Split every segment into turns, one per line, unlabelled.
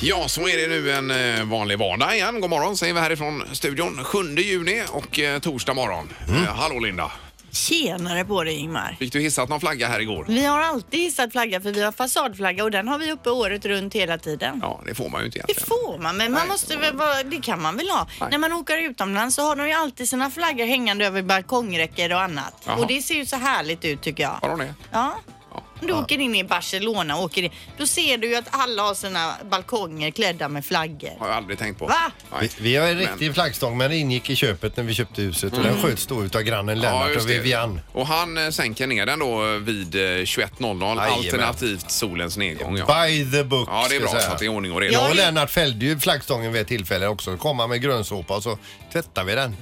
Ja, så är det nu en eh, vanlig vardag igen. God morgon säger vi härifrån studion. 7 juni och eh, torsdag morgon.
Mm.
Eh, hallå Linda!
Tjenare på dig Ingmar.
Fick du hissat någon flagga här igår?
Vi har alltid hissat flagga för vi har fasadflagga och den har vi uppe året runt hela tiden.
Ja, det får man ju inte
Det
egentligen.
får man, men man
Nej.
måste väl vara, det kan man väl ha.
Nej.
När man åker utomlands så har de ju alltid sina flaggor hängande över balkongräcker och annat.
Jaha.
Och det ser ju så härligt ut tycker jag.
Har de det?
Ja.
Ja.
Om du åker in i Barcelona och åker in, då ser du ju att alla har sina balkonger klädda med flaggor.
Har jag aldrig tänkt på.
Va?
Nej.
Vi, vi har en
Men- Mm.
riktig flaggstång men det ingick i köpet när vi köpte huset och den sköts då utav grannen Lennart
just
och
det.
Vivian.
Och han eh, sänker ner den då eh, vid eh, 21.00
Jajamän.
alternativt solens nedgång. Ja.
By the book
ja, det
ska
är bra
jag säga.
så att det är ordning och reda.
Jag och
Ja,
Lennart fällde ju flaggstången vid ett tillfälle också. Då kom han med grönsåpa och så tvättade vi den.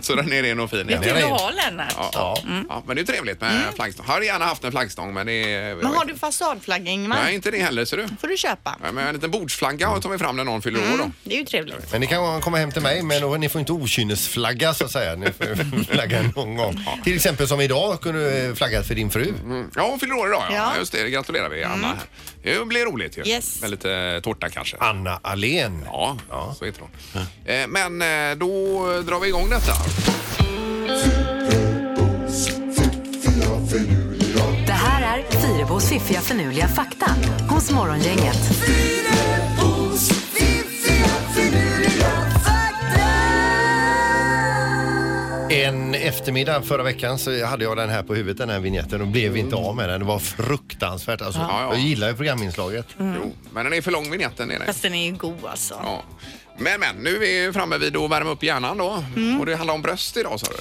Så den är ren och fin.
Det
igen.
är
vill du
rent.
ha Lennart.
Ja, ja. ja, men det är ju trevligt med flaggstång. Har gärna haft en flaggstång men det är...
Men Mm. har du fasadflagga Ingmar?
Nej, inte det heller ser du.
får du köpa.
Nej, men en liten bordsflagga
Mm.
har jag tagit fram när någon fyller år då.
Det är ju trevligt.
Men ni kan komma hem till mig men då, ni får inte okynnesflagga så att säga. Ni får flagga någon gång. Till exempel som idag kunde du flaggat för din fru.
Mm. Ja, hon fyller år idag. Ja.
Ja. Mm.
Just det, det gratulerar vi Anna. Det blir roligt ju.
Yes. Ah.
Med lite tårta kanske.
Anna Alén.
Ja, så heter hon. Eh, Men eh, då drar vi igång detta.
Det här är Fyrabos fiffiga förnuliga fakta hos Morgongänget.
En eftermiddag förra veckan så hade jag den här på huvudet, den här vignetten och blev inte av med den. Det var fruktansvärt. Alltså,
Ja, ja. Mm.
Jag gillar ju programinslaget.
Jo, men den är för lång vignetten är det.
Fast den är ju god alltså.
Ja. Men, men, nu är vi ju framme vid att värma upp hjärnan då.
Mm.
Och det handlar om bröst idag sa du?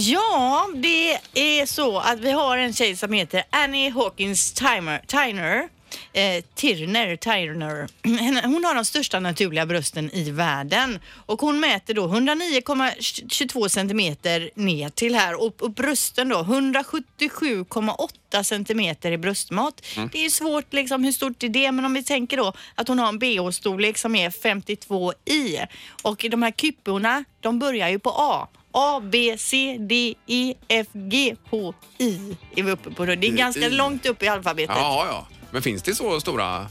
Ja, det är så att vi har en tjej som heter Annie Hawkins Timer, Tyner. Eh, Tirner, Tirner. Henne- Hon har de största naturliga brösten i världen och hon mäter då 109,22 centimeter ner till här och, och brösten då 177,8 centimeter i bröstmat. Det är ju svårt liksom hur stort är det men om vi tänker då att hon har en bh-storlek som är 52 i och de här kypporna de börjar ju på A A, B, C, D, E, F, G, H, I är vi uppe på. då. Det är ganska
I.
långt upp i alfabetet.
Ja,
Ja,
ja. Men finns det så stora?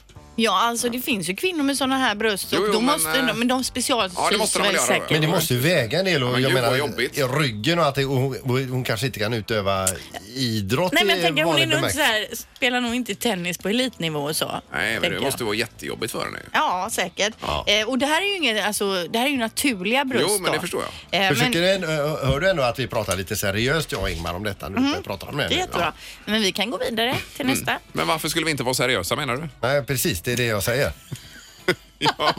alltså det finns ju kvinnor med sådana här bröst och
Jo, jo,
då
men,
måste
eh,
de, men de specialsys eh,
Ja, det måste de väl
väl
göra då.
säkert.
Men det måste ju väga en del och
men
jag
gud, vad
menar
jobbigt.
i ryggen och att det, och hon, hon, hon kanske inte kan utöva idrott
Nej men
i
tänk hon är
vanlig
nog inte så
bemärkelse.
här, spelar nog inte tennis på elitnivå och så.
Nej, men
tänker
det
jag.
måste vara jättejobbigt för henne. ju.
Ja, säkert.
Ja.
Eh, och det här är ju inget, alltså, det här är ju naturliga bröst
Jo, men det
då.
förstår jag.
Eh, men-
Försöker du ändå- hör du ändå att vi pratar lite seriöst jag och Ingmar om detta nu? Mm. Pratar om det,
det är
nu?
jättebra. Men vi kan gå vidare till
Mm.
nästa.
Men varför skulle vi inte vara seriösa menar du?
Ja. Nej, precis, det är det jag säger.
Ja.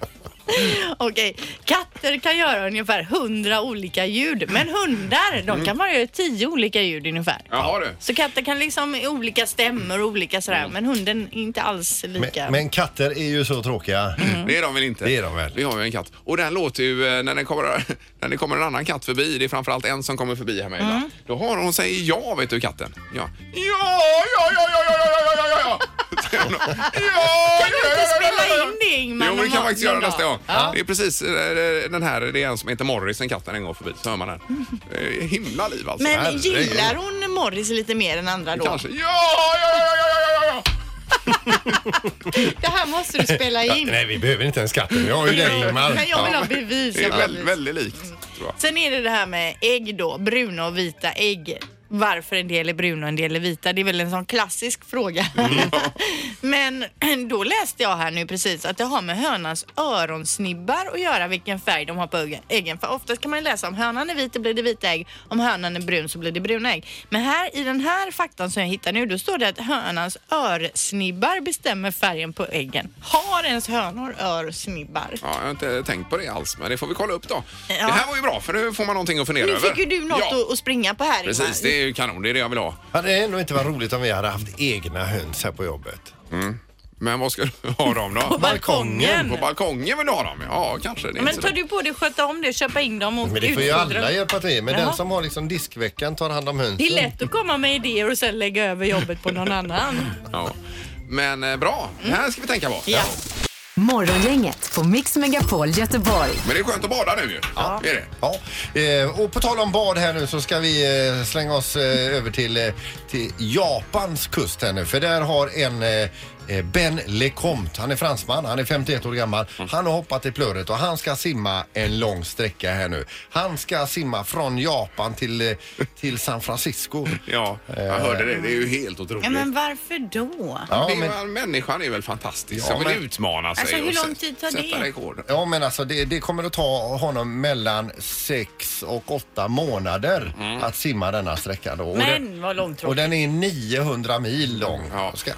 Okej, katter kan göra ungefär 100 olika ljud, men hundar de kan bara göra 10 olika ljud ungefär.
Jaha du.
Så katter kan liksom i olika stämmor och olika sådär,
Mm.
men hunden är inte alls lika.
Men, men katter är ju så tråkiga.
Mm.
Det är de väl inte?
Det är de väl.
Vi har ju en katt. Och den låter ju, eh, när det kommer, när det kommer en annan katt förbi, det är framförallt en som kommer förbi här med ibland. Då har hon, säger ja, vet du katten. Mm. Ja, ja, ja, ja, ja, ja, ja, ja, ja, ja, ja. Säger hon då. ja. ja,
Kan du
ja,
inte
ja, ja,
spela
ja.
in det Ingmar?
Jo, det
någon
kan jag faktiskt göra
dag?
nästa gång. Det är precis eh, den här, det är en som heter Morris, en katt, när den går förbi. Så hör man den. Eh, Himla liv alltså.
Men
Herregud.
gillar hon Morris lite mer än andra då?
Kanske. Ja, ja, ja, ja, ja, ja, ja.
Det här måste du spela in.
Nej, vi behöver inte ens katter. Jag har ju dig Ingmar.
Men jag vill ha bevis.
Det är
jag vill
väldigt,
ha bevis.
väldigt likt, tror jag.
Sen är det det här med ägg då, bruna och vita ägg. Varför en del är bruna och en del är vita, det är väl en sån klassisk fråga. Men då läste jag här nu precis att det har med hönans öronsnibbar att göra vilken färg de har på öga- äggen. För oftast kan man ju läsa om hönan är vit, då blir det vita ägg. Om hönan är brun så blir det bruna ägg. Men här i den här faktan som jag hittar nu, då står det att hönans örsnibbar bestämmer färgen på äggen. Har ens hönor örsnibbar?
Ja, jag har inte tänkt på det alls, men det får vi kolla upp då.
Ja.
Det här var ju bra, för nu får man någonting att fundera
Nu
över.
fick ju du något
ja,
att, att springa på här Ingmar.
precis. Det är ju kanon, det är det jag vill ha.
Hade det ändå inte varit roligt om vi hade haft egna höns här på jobbet?
Men vad ska du ha dem då?
balkongen.
På balkongen vill du ha dem? Ja, kanske. Det är
Men
inte
tar
det.
du på dig, sköta om det, köpa in dem och
Men det får ju
utfodra
alla
dem.
hjälpa till Men den
Jaha.
som har liksom diskveckan tar hand om hönsen.
Det är lätt att komma med idéer och sen lägga över jobbet på någon annan.
Ja. Men eh, bra, det här ska vi tänka på.
Ja.
Morgongänget på Mix Megapol Göteborg.
Men det är skönt att bada nu ju. Ja. Är det?
Ja, eh, och på tal om bad här nu så ska vi eh, slänga oss eh, över till, eh, till Japans kust här nu. För där har en eh, eh, Ben Lecomte. Han är fransman, han är 51 år gammal. Han har hoppat i plöret och han ska simma en lång sträcka här nu. Han ska simma från Japan till, eh, till San Francisco.
Ja, jag hörde det. Det är ju helt otroligt.
Ja, men varför då?
Ja,
det är,
men-
väl- Människan är väl fantastisk
Ja,
som vill
men-
utmana sig
Alltså, hur
och sä-
lång tid tar
sätta
det?
rekord.
Ja men alltså det, det kommer att ta honom mellan sex och åtta månader
Mm.
att simma denna sträcka då. Och
Men vad
den, och
långtråkigt.
den är 900 mil lång.
Ja.
Ska.
Eh,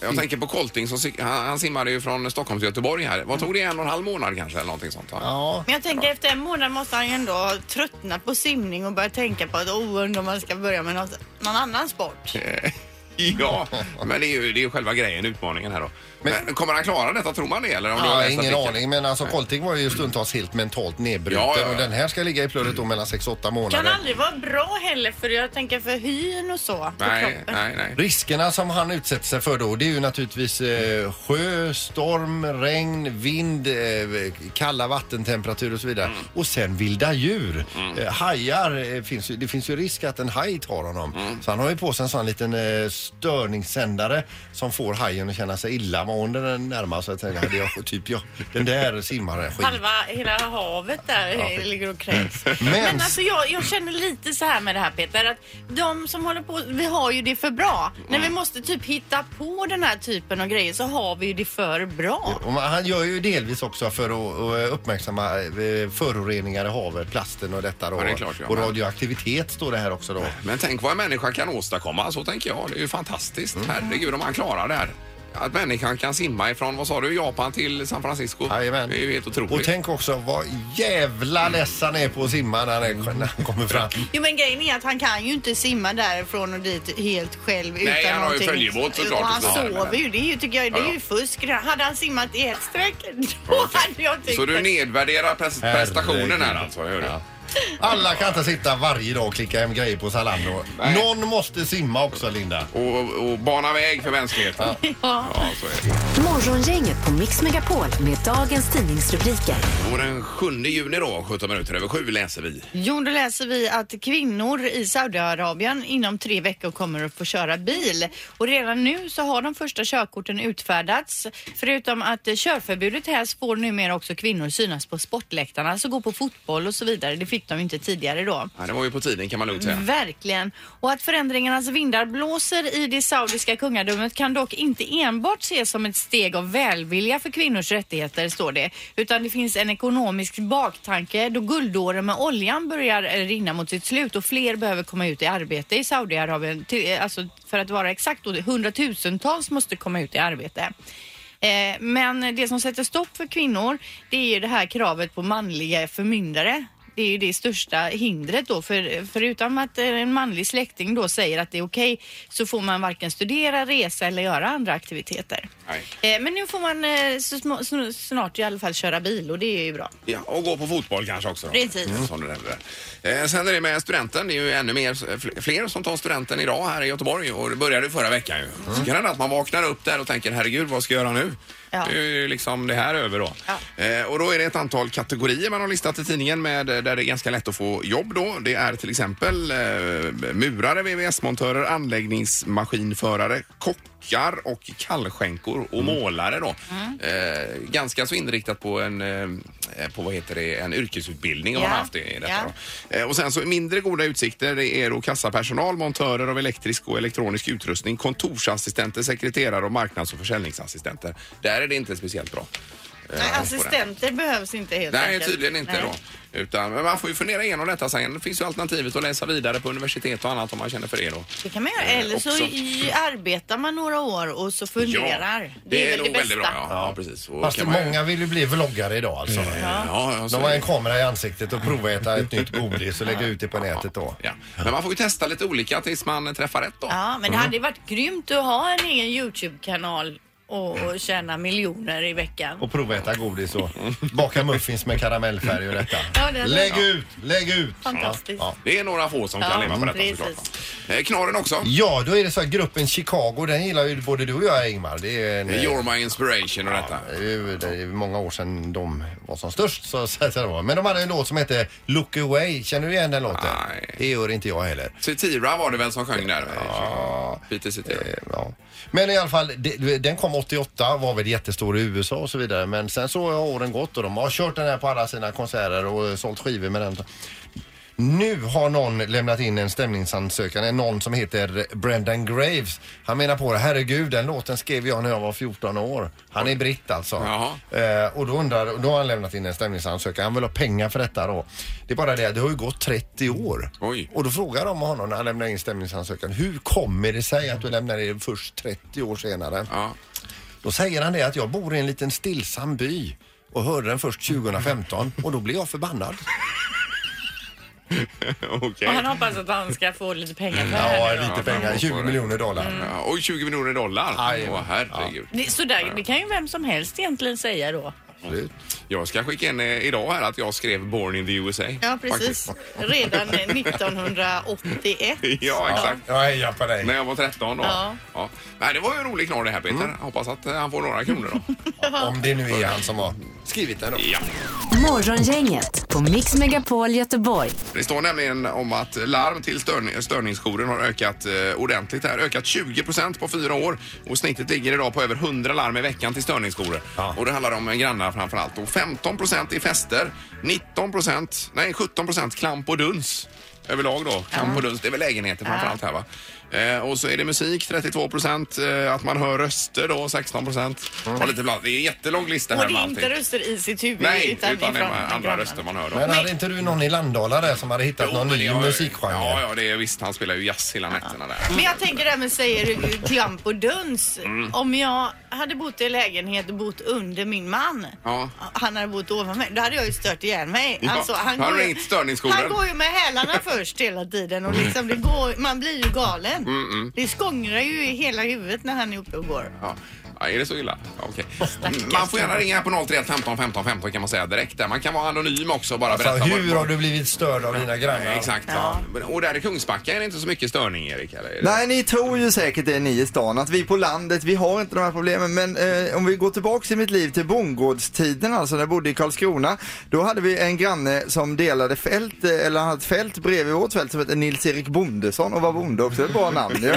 Jag tänker på Kolting som cik- han, han simmade ju från Stockholm till Göteborg här. Vad tog det? En och en halv månad kanske eller någonting sånt? va?
Ja.
Men jag tänker efter en månad måste han ju ändå ha tröttnat på simning och börjat tänka på att oh, undrar om man ska börja med något, någon annan sport.
Eh, Ja, men det är ju, det är ju själva grejen, utmaningen här då. Men, kommer han klara detta, tror man det? Eller om du har
Ja,
läst
ingen
artikeln?
aning, men alltså Colting var ju stundtals helt mentalt nedbruten
Ja, ja, ja.
och den här ska ligga i plöret då mellan 6 och 8
Kan
månader.
aldrig vara bra heller för jag tänker för hyn och så. för
Nej,
kroppen.
nej, nej.
Riskerna som han utsätter sig för då det är ju naturligtvis eh, sjö, storm, regn, vind, eh, kalla vattentemperaturer och så vidare. Och sen vilda djur. Eh, hajar, eh, finns ju, det finns ju risk att en haj tar honom. Så han har ju på sig en sån liten eh, störningssändare som får hajen att känna sig illamående när den närmar sig. Jag tänker, hade jag, typ, jag, den där simmaren skit.
Halva hela havet där
Ja.
ligger och kräks.
Men-
Men, alltså jag, jag känner lite så här med det här Peter att de som håller på, vi har ju det för bra. När
Mm.
vi måste typ hitta på den här typen av grejer så har vi ju det för bra.
Och man- Han gör ju delvis också för att att uppmärksamma eh, föroreningar i havet, plasten och detta då.
Ja, det är klart, ja.
och radioaktivitet står det här också då.
Men tänk vad en människa kan åstadkomma, så tänker jag. Det är ju fantastiskt.
Mm.
Herregud om han klarar det här. Att människan kan simma ifrån, vad sa du, Japan till San Francisco?
Jajamän.
Det är ju helt otroligt.
Och tänk också vad
Mm.
jävla less han är på att simma när han, när han kommer fram.
Jo men grejen är att han kan ju inte simma därifrån och dit helt själv utan
han har ju
någonting.
följebåt såklart
Och han
och så vidare.
sover ju. Det är ju, tycker jag, det
Ja,
är
ja.
ju fusk. Hade han simmat i ett streck då hade jag tyckt
Så du nedvärderar pres-
Herregud.
prestationen här alltså? Hör du?
Ja. Alla kan inte sitta varje dag och klicka hem grejer på Zalando.
Nej.
Någon måste simma också Linda.
Och, och bana väg för mänskligheten? Ja. så är det.
Morgongänget på Mix Megapol med dagens tidningsrubriker.
Och den 7 juni då, 17 minuter över 7 läser vi.
Jo, då läser vi att kvinnor i Saudiarabien inom tre veckor kommer att få köra bil. Och redan nu så har de första körkorten utfärdats. Förutom att eh, körförbudet hävs får numera också kvinnor synas på sportläktarna, alltså gå på fotboll och så vidare. Det fick de ju inte tidigare då.
Ja, det var ju på tiden kan man lugnt
Mm.
säga.
Verkligen. Och att förändringarnas vindar blåser i det saudiska kungadömet kan dock inte enbart ses som ett steg av välvilja för kvinnors rättigheter, står det. Utan det finns en ekonomisk baktanke då guldåren med oljan börjar eh, rinna mot sitt slut och fler behöver komma ut i arbete i Saudiarabien. Till- eh, Alltså för att vara exakt, då, hundratusentals måste komma ut i arbete. Eh, Men det som sätter stopp för kvinnor det är ju det här kravet på manliga förmyndare. Det är ju det största hindret då för, förutom att eh, en manlig släkting då säger att det är okej så får man varken studera, resa eller göra andra aktiviteter.
Nej.
Eh, Men nu får man eh, så små, så snart i alla fall köra bil och det är ju bra.
Ja, och gå på fotboll kanske också. då.
Precis.
Mm. Som du nämnde där. Eh, sen är det med studenten. Det är ju ännu mer, eh, fl- fler som tar studenten idag här i Göteborg och det började ju förra veckan. Ju.
Mm.
Så kan det hända att man vaknar upp där och tänker herregud vad ska jag göra nu?
Ja.
Nu är ju liksom det här över då.
Ja.
Eh, och då är det ett antal kategorier man har listat i tidningen med, eh, där det är ganska lätt att få jobb då. Det är till exempel eh, murare, VVS-montörer, anläggningsmaskinförare, kockar och kallskänkor och målare då. Eh, ganska så inriktat på en, eh, på vad heter det, en yrkesutbildning om man
Ja.
har haft det i detta
Ja.
då. Eh, Och sen så mindre goda utsikter det är då kassapersonal, montörer av elektrisk och elektronisk utrustning, kontorsassistenter, sekreterare och marknads och försäljningsassistenter. Där är det inte speciellt bra. eh,
Nej,
på den.
assistenter behövs inte helt
Nej,
enkelt.
tydligen inte
Nej.
då. Utan men man får ju fundera igenom detta sen. Det finns ju alternativet att läsa vidare på universitet och annat om man känner för det då.
Det kan man göra.
Eh,
Eller så
också.
i, arbetar man några år och så funderar.
det, är,
väl
nog väldigt
det bästa.
bra. Ja, ja. precis. Och
Fast
kan man ju- Mm.
många vill ju bli vloggare idag alltså.
Ja, ja,
De
så är
har
det.
en kamera i ansiktet och proväta ett nytt godis och lägga ut det på nätet då.
Ja. Men man får ju testa lite olika tills man träffar rätt då.
Ja, men det hade ju varit grymt att ha en egen Youtube-kanal och, och tjäna miljoner i veckan.
och proväta godis och baka muffins med karamellfärg och detta.
Ja, det är det.
lägg ut, lägg ut!
Fantastiskt.
Ja.
Det är några få som kan
Ja,
leva på detta
precis.
såklart. va. Eh, Knaren också.
Ja, då är det så att gruppen Chicago, den gillar ju både du och jag Ingmar. Det är en, eh,
You're my inspiration och detta.
det är ju- det är ju många år sedan de var som störst. Så, så, så det var. Men de hade en låt som hette Look Away. Känner du igen den låten?
Nej.
Det gör inte jag heller.
Cetira var det väl som sjöng där?
Ja,
Peter City. ja.
Eh, Ja. Men i alla fall, det- den kom 88, var väl jättestor i USA och så vidare. Men sen så har åren gått och de har kört den här på alla sina konserter och eh, sålt skivor med den. Nu har någon lämnat in en stämningsansökan, en någon som heter Brendan Graves. Han menar på det, herregud den låten skrev jag när jag var 14 år. Han är britt alltså.
Jaha.
Eh, och då, undrar, då har han lämnat in en stämningsansökan. Han vill ha pengar för detta då. Det är bara det, det har ju gått 30 år.
Oj.
Och då frågar de honom när han lämnar in stämningsansökan, hur kommer det sig att du lämnar in först 30 år senare?
Ja.
Då säger han det att jag bor i en liten stillsam by och hörde den först 2015 och då blev jag förbannad.
Okej.
Och han hoppas att han ska få lite pengar för det
Ja, Mm.
här nu då.
lite
man
pengar.
får
20
det.
miljoner dollar.
Ja, och 20 miljoner dollar.
Aj.
Åh herregud.
Det, så där, det kan ju vem som helst egentligen säga då.
Absolut.
Jag ska skicka in eh, idag här att jag skrev Born in the USA.
Ja, precis. Redan eh, 1981.
Faktiskt. Ja, exakt.
Jag hejar på
När
dig.
jag var 13 då.
Ja.
Nej, det var ju en rolig knorr det här Peter.
Mm.
Hoppas att eh, han får några kronor då.
Om det nu är han som har skrivit den. då.
ja.
Morgongänget på Mix Megapol Göteborg.
Det står nämligen om att larm till störning, störningsjouren har ökat eh, ordentligt här. Ökat 20 procent på fyra år och snittet ligger idag på över 100 larm i veckan till störningsjourer.
Ja.
Och det handlar om eh, grannar framför allt. Och 15 procent i fester, 19 procent, nej 17 procent klamp och duns. Överlag då, klamp och duns, det är väl lägenheter framför allt här va? Eh, och så är det musik 32 procent, eh, att man hör röster då 16 procent. Och lite bland, det är en jättelång lista
Mm. Och
här
det
med
är
allting.
inte röster i sitt huvud
Nej, utan,
utan,
det
ifrån
är andra
grannarna.
röster man hör då.
Men hade inte du någon i Landala där som hade hittat någon
men det
ny
har-
musikgenre? Alltså,
Ja, ja, det är visst. Han spelar ju jazz hela nätterna där.
Men jag tänker det här med säger klamp och duns.
Mm.
Om jag hade bott i lägenhet och bott under min man.
Ja.
Han hade bott ovanför mig. Då hade jag ju stört ihjäl mig. Alltså,
Ja,
han,
då hade
går
du
ju,
ringt störningsjouren.
han går ju med hälarna först hela tiden och liksom det går, man blir ju galen.
Mm,
Det skångrar ju i hela huvudet när han är uppe och går.
Ja. Ja, är det så illa? Ja, Okej. Mm, Man får gärna ringa här på 031 15 15 15 kan man säga direkt. Där. Man kan vara anonym också och bara
Alltså,
berätta. vad-
hur har du blivit störd av dina grannar?
Nej, Exakt. Ja. Men- Och där i Kungsbacka är det inte så mycket störning, Erik? Eller? Är det-
Nej, ni tror ju säkert det ni i stan, att vi på landet, vi har inte de här problemen. Men eh, om vi går tillbaks i mitt liv till bondgårdstiden, alltså när jag bodde i Karlskrona. Då hade vi en granne som delade fält, eh, eller han hade ett fält bredvid vårt fält som hette Nils-Erik Bondesson och var bonde också, ett bra namn ju.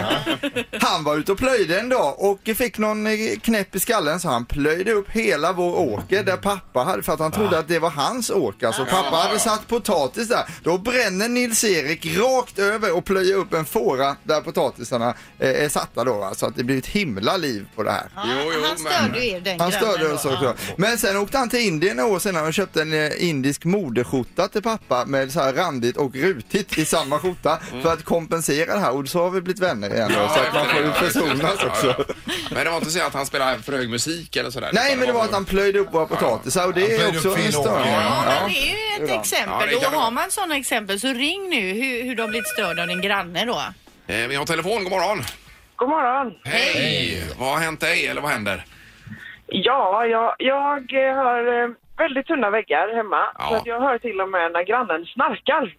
Han var ute och plöjde en dag och fick någon eh, knäpp i skallen så han plöjde upp hela vår åker där pappa hade, för att han
Ah.
trodde att det var hans åker. Alltså pappa
Ja.
hade satt potatis där. Då bränner Nils-Erik rakt över och plöjer upp en fåra där potatisarna eh, är satta då. va. Så att det blir ett himla liv på det här.
Ja,
Jo, jo,
han
men-
störde ju er den
Han
grannen
störde
då.
oss
Ja.
också. Men sen åkte han till Indien några år senare och köpte en eh, indisk modeskjorta till pappa med så här randigt och rutigt i samma skjorta
Mm.
för att kompensera det här. Och så har vi blivit vänner igen då. Så att man får ju försonas också.
Ja, ja. Men det var inte så att han spelade för hög musik eller sådär?
Nej,
Utan
men det var att han plöjde upp våra
Ja, ja.
potatisar och
Han
det
plöjde
är
upp
också
fel
en
åker.
störning.
Ja,
Ja.
men det är ju
Ja,
ett
det
exempel.
kan det
och
vara.
har man sådana exempel så ring nu hur, hur de blivit störda av din granne då.
Eh, Vi har telefon. God morgon!
God morgon.
Hej! Vad har hänt dig, eller vad händer?
Ja, jag, jag eh, har eh, väldigt tunna väggar hemma.
Ja.
Så att jag hör till och med när grannen snarkar.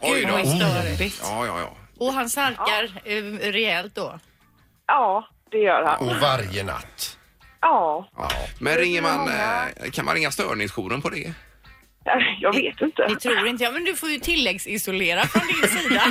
Oj
Gud, vad
då.
störigt.
Ja, ja, ja.
Och han snarkar ja. rejält då.
ja, det gör han.
Och varje natt.
Ja,
ja. Men ringer man,
många-
eh, kan man ringa störningsjouren på det?
Eh, jag vet inte.
Det tror inte jag, men du får ju tilläggsisolera från din sida.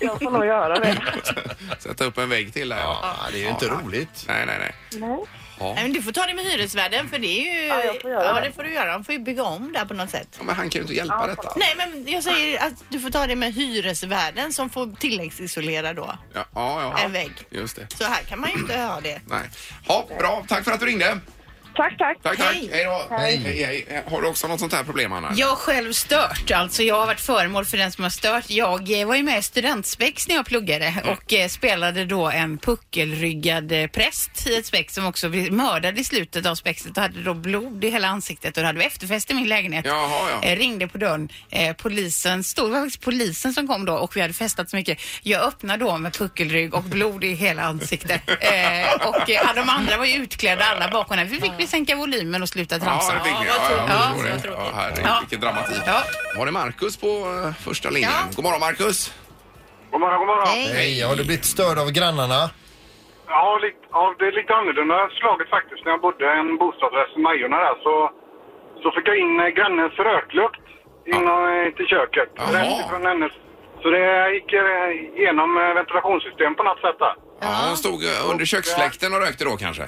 Jag får nog göra det.
Sätta upp en vägg till där.
Ja, det är ju inte roligt.
Nej, nej, nej.
Nej.
Nej, men du får ta det med hyresvärden för det är ju...
Ja, jag får göra
ja,
det.
det får du göra. De får ju bygga om där på något sätt.
Ja, men han kan ju inte hjälpa
Ja,
detta.
Nej, men jag säger att du får ta det med hyresvärden som får tilläggsisolera då.
Ja, ja, ja.
En vägg.
Just det.
Så här kan man ju inte ha det.
Nej. Ja, bra. Tack för att du ringde.
Tack, tack.
Tack, tack.
Hej.
Hej då. Hej. Hej, hej. Har du också något sånt här problem, Anna?
Jag har själv stört, alltså jag har varit föremål för den som har stört. Jag eh, var ju med i Studentspex när jag pluggade
Mm.
och eh, spelade då en puckelryggad eh, präst i ett spex som också blev mördad i slutet av spexet och hade då blod i hela ansiktet och då hade vi efterfest i min lägenhet.
Jaha, ja.
Eh, ringde på dörren, eh, polisen stod, det var faktiskt polisen som kom då och vi hade festat så mycket. Jag öppnade då med puckelrygg och blod i hela ansiktet. Eh, och eh, de andra var ju utklädda alla bakom den. Vi fick vi sänka volymen och sluta tramsa.
Ja, det fick ni.
Ja, vad
Ja,
Ja,
ja, förstår
tråkigt.
så
det. ja,
tråkigt.
herregud,
Ja.
vilken dramatik.
Ja.
Var det Markus på eh, första linjen?
Ja.
God morgon, Markus.
God morgon, god morgon.
Hej.
Hej, har du blivit störd av grannarna?
Ja, lite, ja, det är lite annorlunda slaget faktiskt. När jag bodde i en bostadsrätt i Majorna där så, så fick jag in eh, grannens röklukt in, eh, till köket.
Jaha.
Den från hennes Så det gick eh, igenom eh, ventilationssystemet på något sätt där.
Ja, hon stod eh, under köksfläkten och rökte då kanske.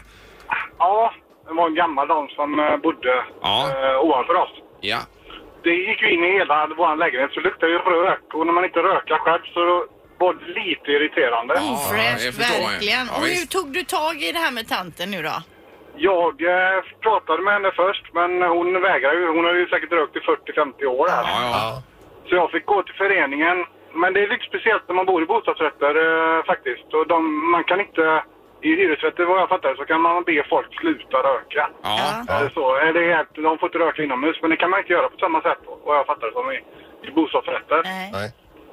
Ja, det var en gammal dam som eh, bodde
Ja.
eh, ovanför oss.
Ja.
Det gick ju in i hela vår lägenhet så det luktade ju rök och när man inte rökar själv så var det lite irriterande.
Ja, jag
Ofräscht,
förstår ju.
verkligen.
Ja,
och hur
visst.
tog du tag i det här med tanten nu då?
Jag eh, pratade med henne först men hon vägrade ju. Hon hade ju säkert rökt i 40-50 år här.
Ja, ja.
Så jag fick gå till föreningen. Men det är lite speciellt när man bor i bostadsrätter eh, faktiskt. Och de, man kan inte... I hyresrätter vad jag fattar så kan man be folk sluta röka.
Ja.
Eller så. Eller helt, de får inte röka inomhus men det kan man inte göra på samma sätt vad jag fattar som i, i bostadsrätter.
Nej.
Nej.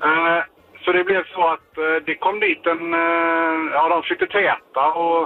Eh, så det blev så att eh, det kom dit en... Eh, ja, de försökte täta och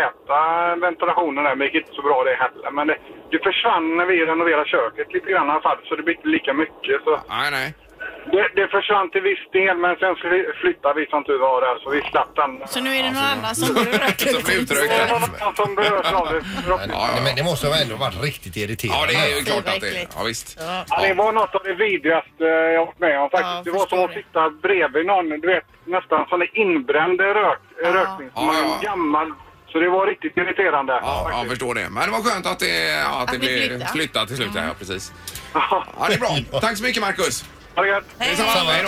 täta ventilationen där, men det gick inte så bra det heller. Men det, det försvann när vi renoverade köket lite grann i alla fall, så det blev inte lika mycket. Så
Nej, nej.
det, det försvann till viss del, men sen fly- flyttade vi som tur var där, så vi slapp den.
Så nu är det någon annan som går och röker
Så blev utrökt.
Det var någon som berördes av det.
Ja, ja.
Men det måste väl ändå varit riktigt irriterande.
Ja, det är ju
Det är
klart att det är.
verkligt.
Ja, visst.
Ja, det var något av det vidrigaste eh, jag varit med om faktiskt.
Ja,
det var som
förstår
att
det.
sitta bredvid någon, du vet, nästan som en inbränd rök, rökning. Som
Ja,
en
ja.
gammal. Så det var riktigt irriterande.
Ja, jag förstår det. Men det var skönt att det, ja, att det
Att vi
blev
flyttade.
flyttat till slut. Ja, precis.
Ja.
Ja, det är bra. Tack så mycket, Marcus.
Ha det gött.
Detsamma. Hej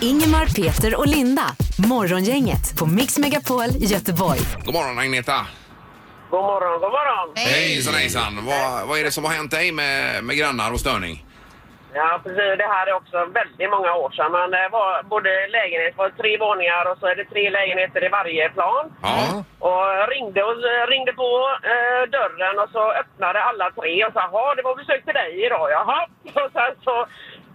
då.
Ingemar, Peter och Linda. Morgongänget på Mix Megapol Göteborg.
God morgon, Agneta.
God morgon, god morgon.
Hejsan, hejsan. Vad, vad är det som har hänt dig med, med grannar och störning?
Ja, precis. Det här är också väldigt många år sedan. Men det var både lägenhet, var tre våningar och så är det tre lägenheter i varje plan.
Ja.
Och jag ringde, och ringde på eh, dörren och så öppnade alla tre och sa jaha, det var besök till dig idag, jaha. Och sen så,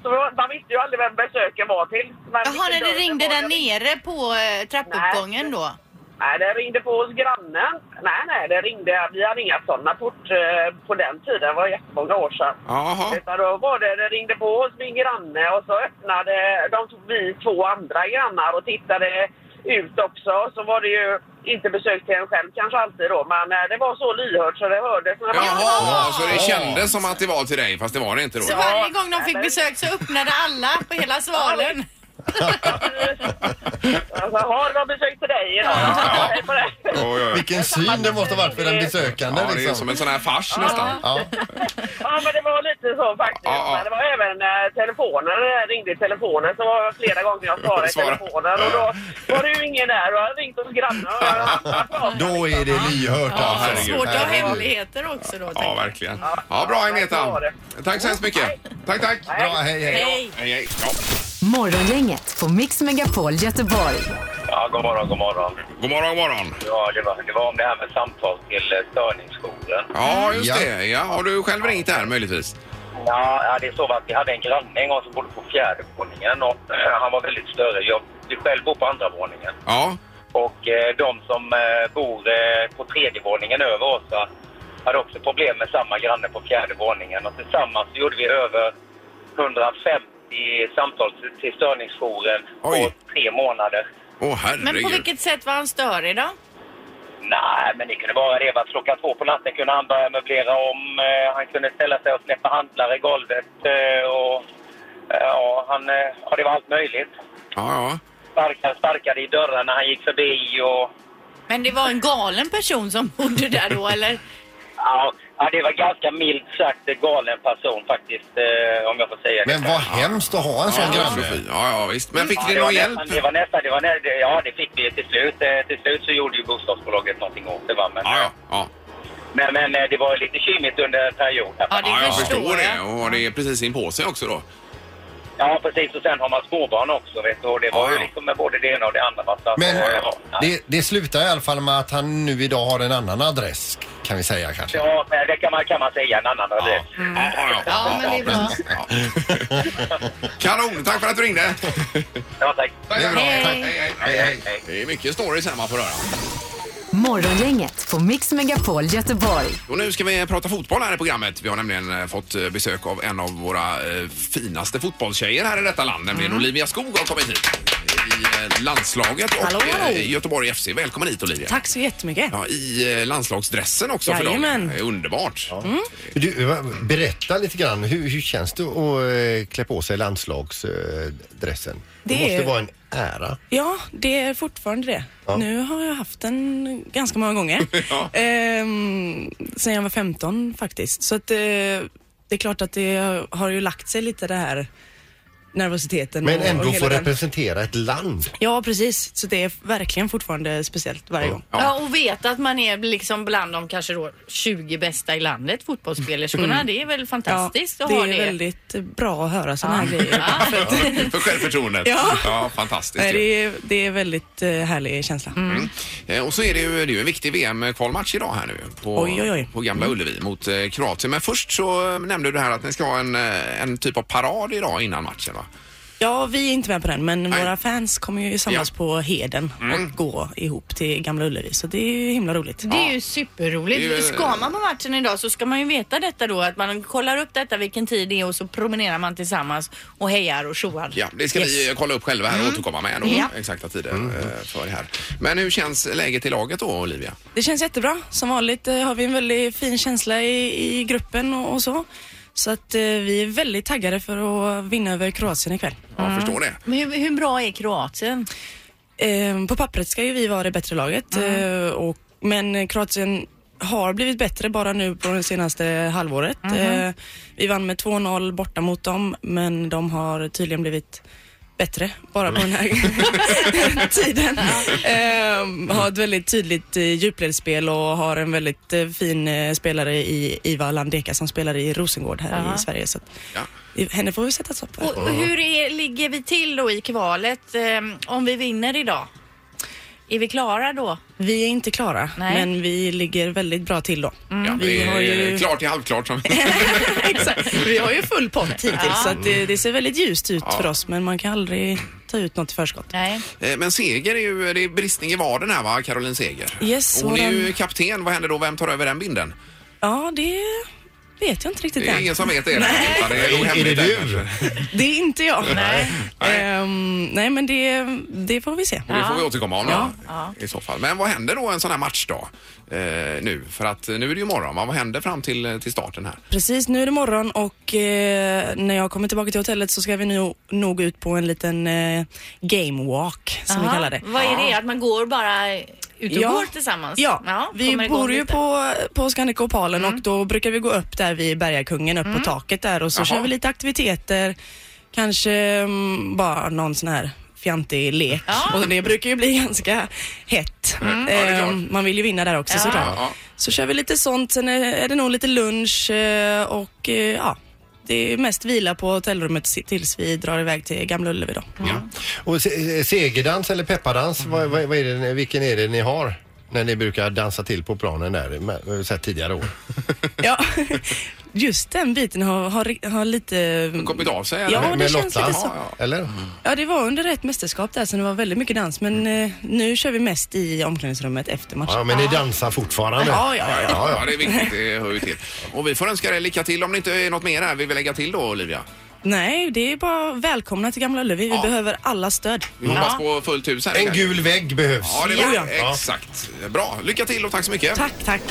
så man visste ju aldrig vem besöken var till. Men
Jaha, när
vilken
det
dörr
ringde
var,
där
jag-
nere på eh, trappuppgången då?
Nej, det ringde på hos grannen. Nej, nej, det ringde, vi hade inga sådana port eh, på den tiden, det var jättemånga år sedan.
Jaha.
Utan då var det, det ringde på hos min granne och så öppnade de, vi två andra grannar och tittade ut också. Så var det ju inte besök till en själv kanske alltid då, men eh, det var så lyhört så det hördes. när man-
Jaha, så det kändes som att det var till dig, fast det var det inte då.
Så varje gång de fick besök så öppnade alla på hela svalen.
Alltså, har de besök till dig idag?
Ja.
Hej på dig.
Oj, oj, oj.
Vilken syn det måste ha varit för den besökande.
Ja, det är
liksom.
som en sån här fars nästan.
Ja.
Ja, men det var lite så faktiskt.
Ja, ja.
Men det var även eh, telefoner. Jag ringde i telefonen så var det flera gånger jag svarade i
Svara.
telefonen. Och då var det ju ingen där. Och jag hade ringt hos grannen och jag- jag pratade
Då är det lyhört
Ja,
alltså.
herregud.
Svårt att ha hemligheter också då.
Ja,
tänker jag.
verkligen. Ja, bra Agneta. Tack så hemskt mycket. Tack, tack.
Bra, hej, hej.
Hej!
Hej, hej. Ja.
Morgongänget på Mix Megapol Göteborg.
Ja, god morgon, god morgon.
God morgon, god morgon.
Ja, det, var, det var om det här med samtal till eh, störningsjouren.
Ja, just
Ja.
det. Ja, har du själv ringt här möjligtvis?
Ja, ja, det är så att vi hade en granne en gång som bodde på fjärde våningen och eh, han var väldigt större. Jag jag själv bor på andra våningen.
Ja.
Och eh, de som eh, bor eh, på tredje våningen över oss va, hade också problem med samma granne på fjärde våningen. Och tillsammans så gjorde vi över 150 samtal till- till störningsjouren på
Oj.
tre månader.
Åh,
Men på
herregud.
vilket sätt var han störig då?
Nej, men det kunde vara det. Va? Klockan två på natten kunde han börja möblera om. Eh, han kunde ställa sig och släppa handlar i golvet. Eh, och, eh, ja, han, eh, ja, det var allt möjligt.
Ja, ja.
Sparkade, sparkade i dörren när han gick förbi. Och,
Men det var en galen person som bodde där då eller?
ja, ja, det var ganska milt sagt en galen person faktiskt, eh, om jag får säga det.
Men vad hemskt att ha en sån
Ja,
granne.
ja, ja, visst. Men fick
Ja,
ni
det, var
någon hjälp?
nästan, det var nästan, det var nä, det, ja det fick vi till slut. Eh, Till slut så gjorde ju bostadsbolaget någonting åt det va. Men,
Ja, ja. ja.
men, men eh, det var ju lite kymigt under en period. här,
Ja, det
Ja, jag
förstår
förstår
jag.
det. Och det är precis in på sig också då.
Ja, precis. Och sen har man småbarn också, vet du. Och det var
Ja,
ju
ja.
liksom med både det ena och det andra. va. Så att,
Men
eh, ja,
det, det slutar i alla fall med att han nu idag har en annan adress kan vi säga kanske.
Ja, men det kan man, kan man säga en annan
Ja,
adress.
ja, ja.
Ja, men det är bra.
precis. Ja. Kanon, tack för att du ringde.
Ja, tack.
Det är bra.
Hej.
Tack. Hej, hej, hej, hej. Det är mycket stories här man får höra.
Morgongänget på Mix Megapol Göteborg.
Och nu ska vi prata fotboll här i programmet. Vi har nämligen eh, fått eh, besök
Mm.
av en av våra eh, finaste fotbollstjejer här i detta land, nämligen Olivia Skog har kommit hit. i eh, landslaget och
Hallå, hallå.
eh, Göteborg FC. Välkommen hit Olivia.
Tack så jättemycket.
Ja, I eh, landslagsdressen också för dagen.
Jajamän.
Det är underbart.
Du, eh, berätta lite grann, hur, hur känns det att eh, klä på sig landslagsdressen? Det,
Det
måste
är-
vara en ära.
Ja, det är fortfarande det.
Ja.
Nu har jag haft den ganska många gånger.
Ja.
ehm, sen jag var 15 faktiskt. Så att, eh, det är klart att det har ju lagt sig lite det här nervositeten.
Men
och- och
ändå
hela
få
den-
representera ett land.
Ja, precis. Så det är verkligen fortfarande speciellt varje gång.
Ja.
Ja. och veta att man är liksom bland de kanske då 20 bästa i landet fotbollsspelerskorna.
Mm.
Det är väl fantastiskt
Ja,
att
det är
ha det.
väldigt bra att höra sådana här grejer.
Ja.
För självförtroendet.
Ja.
fantastiskt.
Nej,
ju.
det, är, det är väldigt eh, härlig känsla.
Mm.
Eh, Och så är det ju, det är ju en viktig VM-kvalmatch idag här nu på,
Oj, oj, Mm. oj.
på Gamla Ullevi mot eh, Kroatien. Men först så eh, nämnde du här att ni ska ha en, eh, en typ av parad idag innan matchen va?
Ja, vi är inte med på den, men
Nej.
våra fans kommer ju samlas
Ja. Mm.
på Heden och gå ihop till Gamla Ullevi, så det är ju himla roligt.
Det är ju superroligt.
Det är ju-
Ska man på matchen idag så ska man ju veta detta då att man kollar upp detta vilken tid det är och så promenerar man tillsammans och hejar och tjoar.
Ja, det ska vi eh, kolla upp själva här och
Mm.
återkomma med då,
Ja.
exakta tider
Mm.
eh, för det här. Men hur känns läget i laget då Olivia?
Det känns jättebra. Som vanligt eh, har vi en väldigt fin känsla i, i gruppen och, och så. Så att eh, vi är väldigt taggade för att vinna över Kroatien ikväll.
Ja, förstår det.
Men hur, hur bra är Kroatien?
Eh, på pappret ska ju vi vara det bättre laget, eh, och, men Kroatien har blivit bättre bara nu på det senaste halvåret.
Mhm.
Eh, vi vann med 2-0 borta mot dem, men de har tydligen blivit bättre bara på den
Mm.
här tiden. Eh, har ett väldigt tydligt eh, djupledsspel och har en väldigt eh, fin eh, spelare i Iva Landeka som spelar i Rosengård här i Sverige. Så att,
Ja.
Henne får vi sätta stopp för.
Och, och hur är, ligger vi till då i kvalet ehm, om vi vinner idag? Är vi klara då?
Vi är inte klara,
Nej.
men vi ligger väldigt bra till då.
Ja,
Mm. Vi
det är
har ju-
klart till halvklart. Som...
Exakt. Vi har ju full pott hittills så att det, det ser väldigt ljust ut för oss men man kan aldrig ta ut något i förskott.
Nej.
Eh, Men Seger är ju, det är bristning i vaden här va, Caroline Seger?
Yes,
Hon är
våran-
ju kapten, vad händer då? Vem tar över den binden?
Ja, det vet jag inte riktigt
Det är
än.
ingen som vet det. Ja, det nog
Är- är
hemligt
det
där
du?
kanske.
Det är inte jag.
Nej.
Nej.
Ehm, nej men det, det får vi se.
Och det får vi återkomma om då, i så fall. Men vad händer då en sån här matchdag eh, nu? För att eh, nu är det ju morgon. va? Vad händer fram till, till starten här?
Precis, nu är det morgon och eh, när jag kommer tillbaka till hotellet så ska vi nu, nog ut på en liten eh, game walk som vi
Aha.
kallar det.
Vad är det? Att man går bara ut och går tillsammans?
Ja, vi
kommer igång
bor ju
lite.
på, på Scandic Opalen och
Mm.
då brukar vi gå upp där vid Bergakungen, upp på taket där och så
Jaha.
kör vi lite aktiviteter, kanske mm, bara någon sån här fjantig lek och det brukar ju bli ganska hett.
Mm. Ja, det är
Eh,
klart.
man vill ju vinna där också såklart.
Ja.
Så kör vi lite sånt, sen är, är det nog lite lunch eh, och eh, ja, det är mest vila på hotellrummet si- tills vi drar iväg till Gamla Ullevi då.
Ja.
Mm. Och se- eh, segerdans eller peppardans, vad, vad, vad är det, vilken är det ni har? När ni brukar dansa till på planen där, med- eh, så här tidigare år.
Ja, just den biten har, har, har lite...
Kommit av sig?
Ja,
med
det
med
känns
Lotta,
lite så.
Ja,
eller?
Ja, det var under ett mästerskap där, så det var väldigt mycket dans. Men eh, nu kör vi mest i omklädningsrummet efter matchen.
Ja, men ni dansar fortfarande.
Ja, ja, ja.
Ja, ja, det är viktigt. Det hör ju till. Och vi får önska dig lycka till om det inte är något mer här vi vill lägga till då, Olivia.
Nej, det är bara välkomna till Gamla Ullevi. Vi
Ja.
behöver alla stöd.
Vi hoppas på fullt hus här.
En gul vägg behövs.
Ja, det är bra.
Ja,
ja.
Exakt. Bra. Lycka till och tack så mycket.
Tack, tack.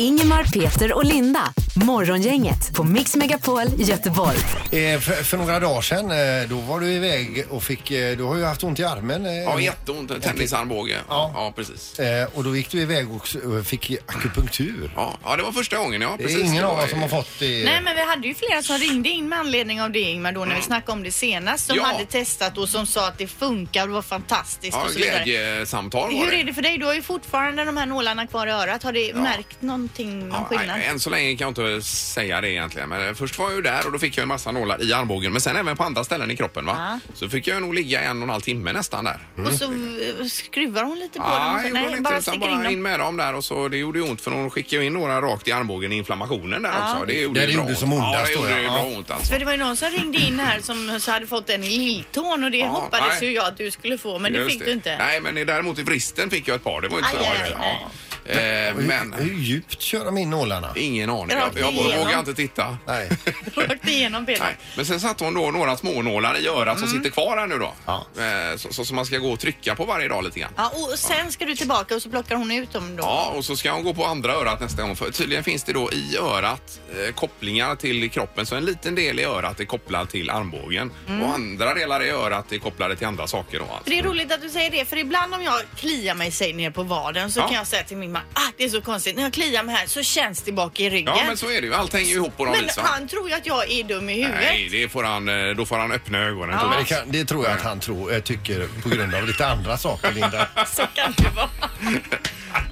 Ingemar, Peter och Linda. Morgongänget på Mix Megapol Göteborg.
Eh, för, för några dagar sedan, eh, då var du iväg och fick, eh, du har ju haft ont i armen. eh,
Ja, jätteont. Tennisarmbåge. Ja.
Ja.
precis.
eh, och då gick du iväg och s- och fick akupunktur.
Ja. ja, det var första gången. Ja,
Det
precis.
är ingen
var-
av oss som har fått det.
Nej men vi hade ju flera som ringde in med anledning av det Ingmar då när vi snackade om det senast som
Ja.
hade testat och som sa att det funkar och det var fantastiskt
Ja,
och så vidare.
glädjesamtal var
Hur är det för dig? Du har ju fortfarande de här nålarna kvar i örat. Har du märkt någonting, någon
Ja,
skillnad?
nej, än så länge kan jag inte säga det egentligen. Men eh, först var jag ju där och då fick jag en massa nålar i armbågen. Men sen även på andra ställen i kroppen va. Så fick jag nog ligga en och en halv timme nästan där.
Och så eh, skruvar hon lite på
Ja,
dem. så-
gjorde hon
Nej,
inte,
bara
utan
sticker
bara
in
in,
dem.
med dem där och så det gjorde ju ont för hon skickade ju in några rakt i armbågen i inflammationen där också. Det gjorde
Där
ju
det
bra
gjorde
ont.
som ondast
Ja,
då,
det gjorde
ja.
ju
Ja.
bra ont alltså.
För det var ju någon som ringde in här som så hade fått en i lilltån och det hoppades
nej.
ju jag att du skulle få men det
Just
fick du inte.
Nej, men däremot i vristen fick jag ett par. Det var ju inte så
Aj, aj,
vanligt.
aj.
Ja. Eh,
Hur,
men
hur djupt kör de in nålarna?
ingen aning.
Rakt
Jag, jag
igenom.
vågar inte titta.
Nej.
Rakt igenom benet.
Nej. Men sen satte hon då några smånålar i örat som
Mm.
sitter kvar här nu då.
Ja.
Eh, så- så- Som man ska gå och trycka på varje dag lite grann.
Ja, och sen ska du tillbaka och så plockar hon ut dem då.
Ja, och så ska hon gå på andra örat nästa gång. För tydligen finns det då i örat eh, kopplingar till kroppen. Så en liten del i örat är kopplad till armbågen
Mm.
och andra delar i örat är kopplade till andra saker. Då,
För
alltså.
det är roligt att du säger det, för ibland om jag kliar mig säg, ner på vaden så
Ja.
kan jag säga till min man att ah, det är så konstigt, när jag kliar mig här så känns det bak i ryggen.
Ja, men så är det ju. Allt hänger ju ihop på något
Men
vis. va?
han tror ju att jag är dum i huvudet.
Nej, det får han, eh, då får han öppna ögonen.
Ja.
Men det, kan, det tror jag att han tror, eh, tycker på grund av lite andra saker, Linda.
Så kan det vara.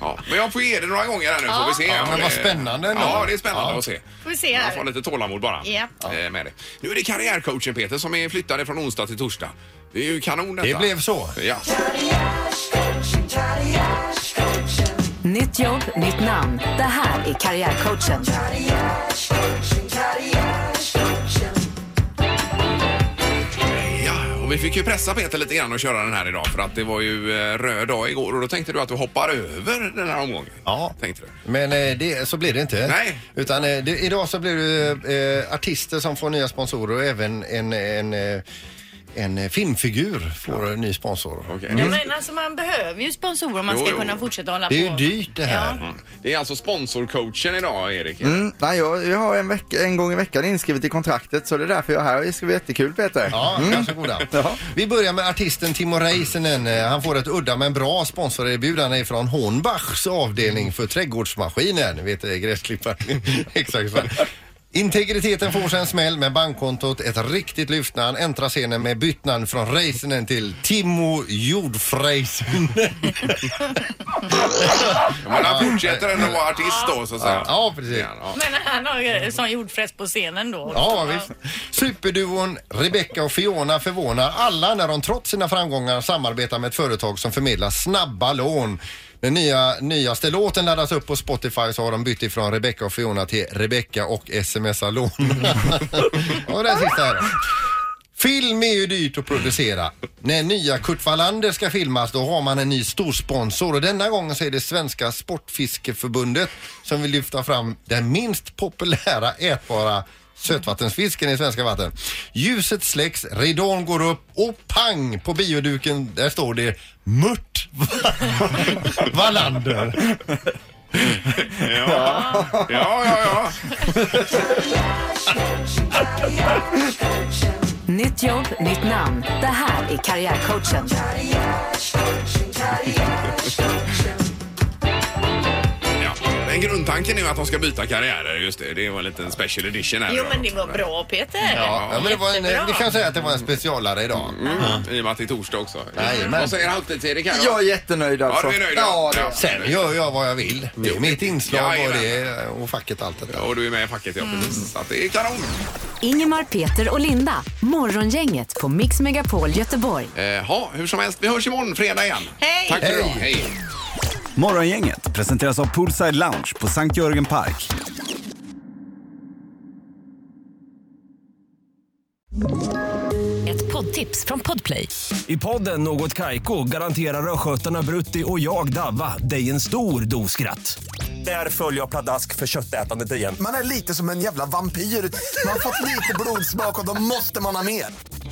Ja, men jag får ge det några gånger här nu får vi se.
Ja,
om
men
det-
vad spännande ändå.
Ja, det är spännande
Ja.
att se.
Får vi se
Man får ha
här.
lite tålamod bara.
Ja.
eh, Med det. Nu är det karriärcoachen Peter som är flyttade från onsdag till torsdag. Det är ju kanon detta.
Det blev så.
Ja.
Nytt jobb, nytt namn. Det här är Karriärcoachen.
ja, och vi fick ju pressa Peter lite grann att köra den här idag för att det var ju eh, röd dag igår och då tänkte du att du hoppar över den här omgången.
Ja.
Tänkte du.
Men eh, det, så blir det inte.
Nej.
Utan eh, det, idag så blir det eh, artister som får nya sponsorer och även en, en, eh, en eh, filmfigur får en ny sponsor.
Okej.
Ja, men alltså, man behöver ju sponsorer om man
Jo,
ska
jo.
kunna fortsätta hålla
Det är
på.
ju dyrt det här.
Det är alltså sponsorcoachen idag, Erik.
Mm, nej, jag, jag har en, vecka, en gång i veckan inskrivet i kontraktet så det är därför jag är här. Det ska bli jättekul Peter. Mm.
Ja, varsågoda.
Ja.
Vi börjar med artisten Timo Räisänen. Eh, Han får ett udda men bra sponsorerbjudande från Hornbachs avdelning för trädgårdsmaskiner. Ni vet eh, gräsklipparen. Exakt så. Integriteten får sig en smäll med bankkontot ett riktigt lyft när han äntrar scenen med bytt namn från Räisänen till Timo Jordfräisen.
Ja, men han fortsätter ändå vara artist då, så att säga.
Ja, precis.
Ja.
Men han har ju sån jordfräs på scenen då.
Ja, visst. Superduon Rebecca och Fiona förvånar alla när de trots sina framgångar samarbetar med ett företag som förmedlar snabba lån. Den nya, nyaste låten laddas upp på Spotify så har de bytt ifrån Rebecca och Fiona till Rebecca och smsa lån. och den sista här då. Film är ju dyrt att producera. När nya Kurt Wallander ska filmas då har man en ny storsponsor och denna gången så är det Svenska Sportfiskeförbundet som vill lyfta fram den minst populära ätbara sötvattensfisken i svenska vatten. Ljuset släcks, ridån går upp och pang på bioduken där står det Mört Wallander.
Ja, ja, ja.
Nytt jobb, nytt namn. Det här är Karriärcoachen.
ja. Men grundtanken är ju att de ska byta karriärer, just det. Det var en liten special edition här.
Jo,
då.
men det var bra Peter.
Ja, men det var en, eh,
Jättebra.
vi kan säga att det var en specialare idag.
Mm. I och med att det är torsdag också.
Jajamän.
Vad säger halvtids-Erik här då?
Jag är jättenöjd
Ja,
alltså.
du är nöjd?
Ja, det är jag.
Sen gör jag vad jag vill. Det är mitt inslag och,
Jajamän.
det, och facket allt detta.
Ja, Och du är med i facket, ja precis. Så att det är kanon.
Ingemar, Peter och Linda. Morgongänget på Mix Megapol Göteborg.
Eh, Ja, hur som helst, vi hörs imorgon fredag igen.
Hej!
Tack för idag.
Hej.
Hej.
Morgongänget presenteras av Poolside Lounge på Sankt Jörgen Park.
Ett poddtips från Podplay.
I podden Något Kaiko garanterar östgötarna Brutti och jag, Davva, dig en stor dos skratt. Där följer jag pladask för köttätandet igen.
Man är lite som en jävla vampyr. Man har fått lite blodsmak och då måste man ha mer.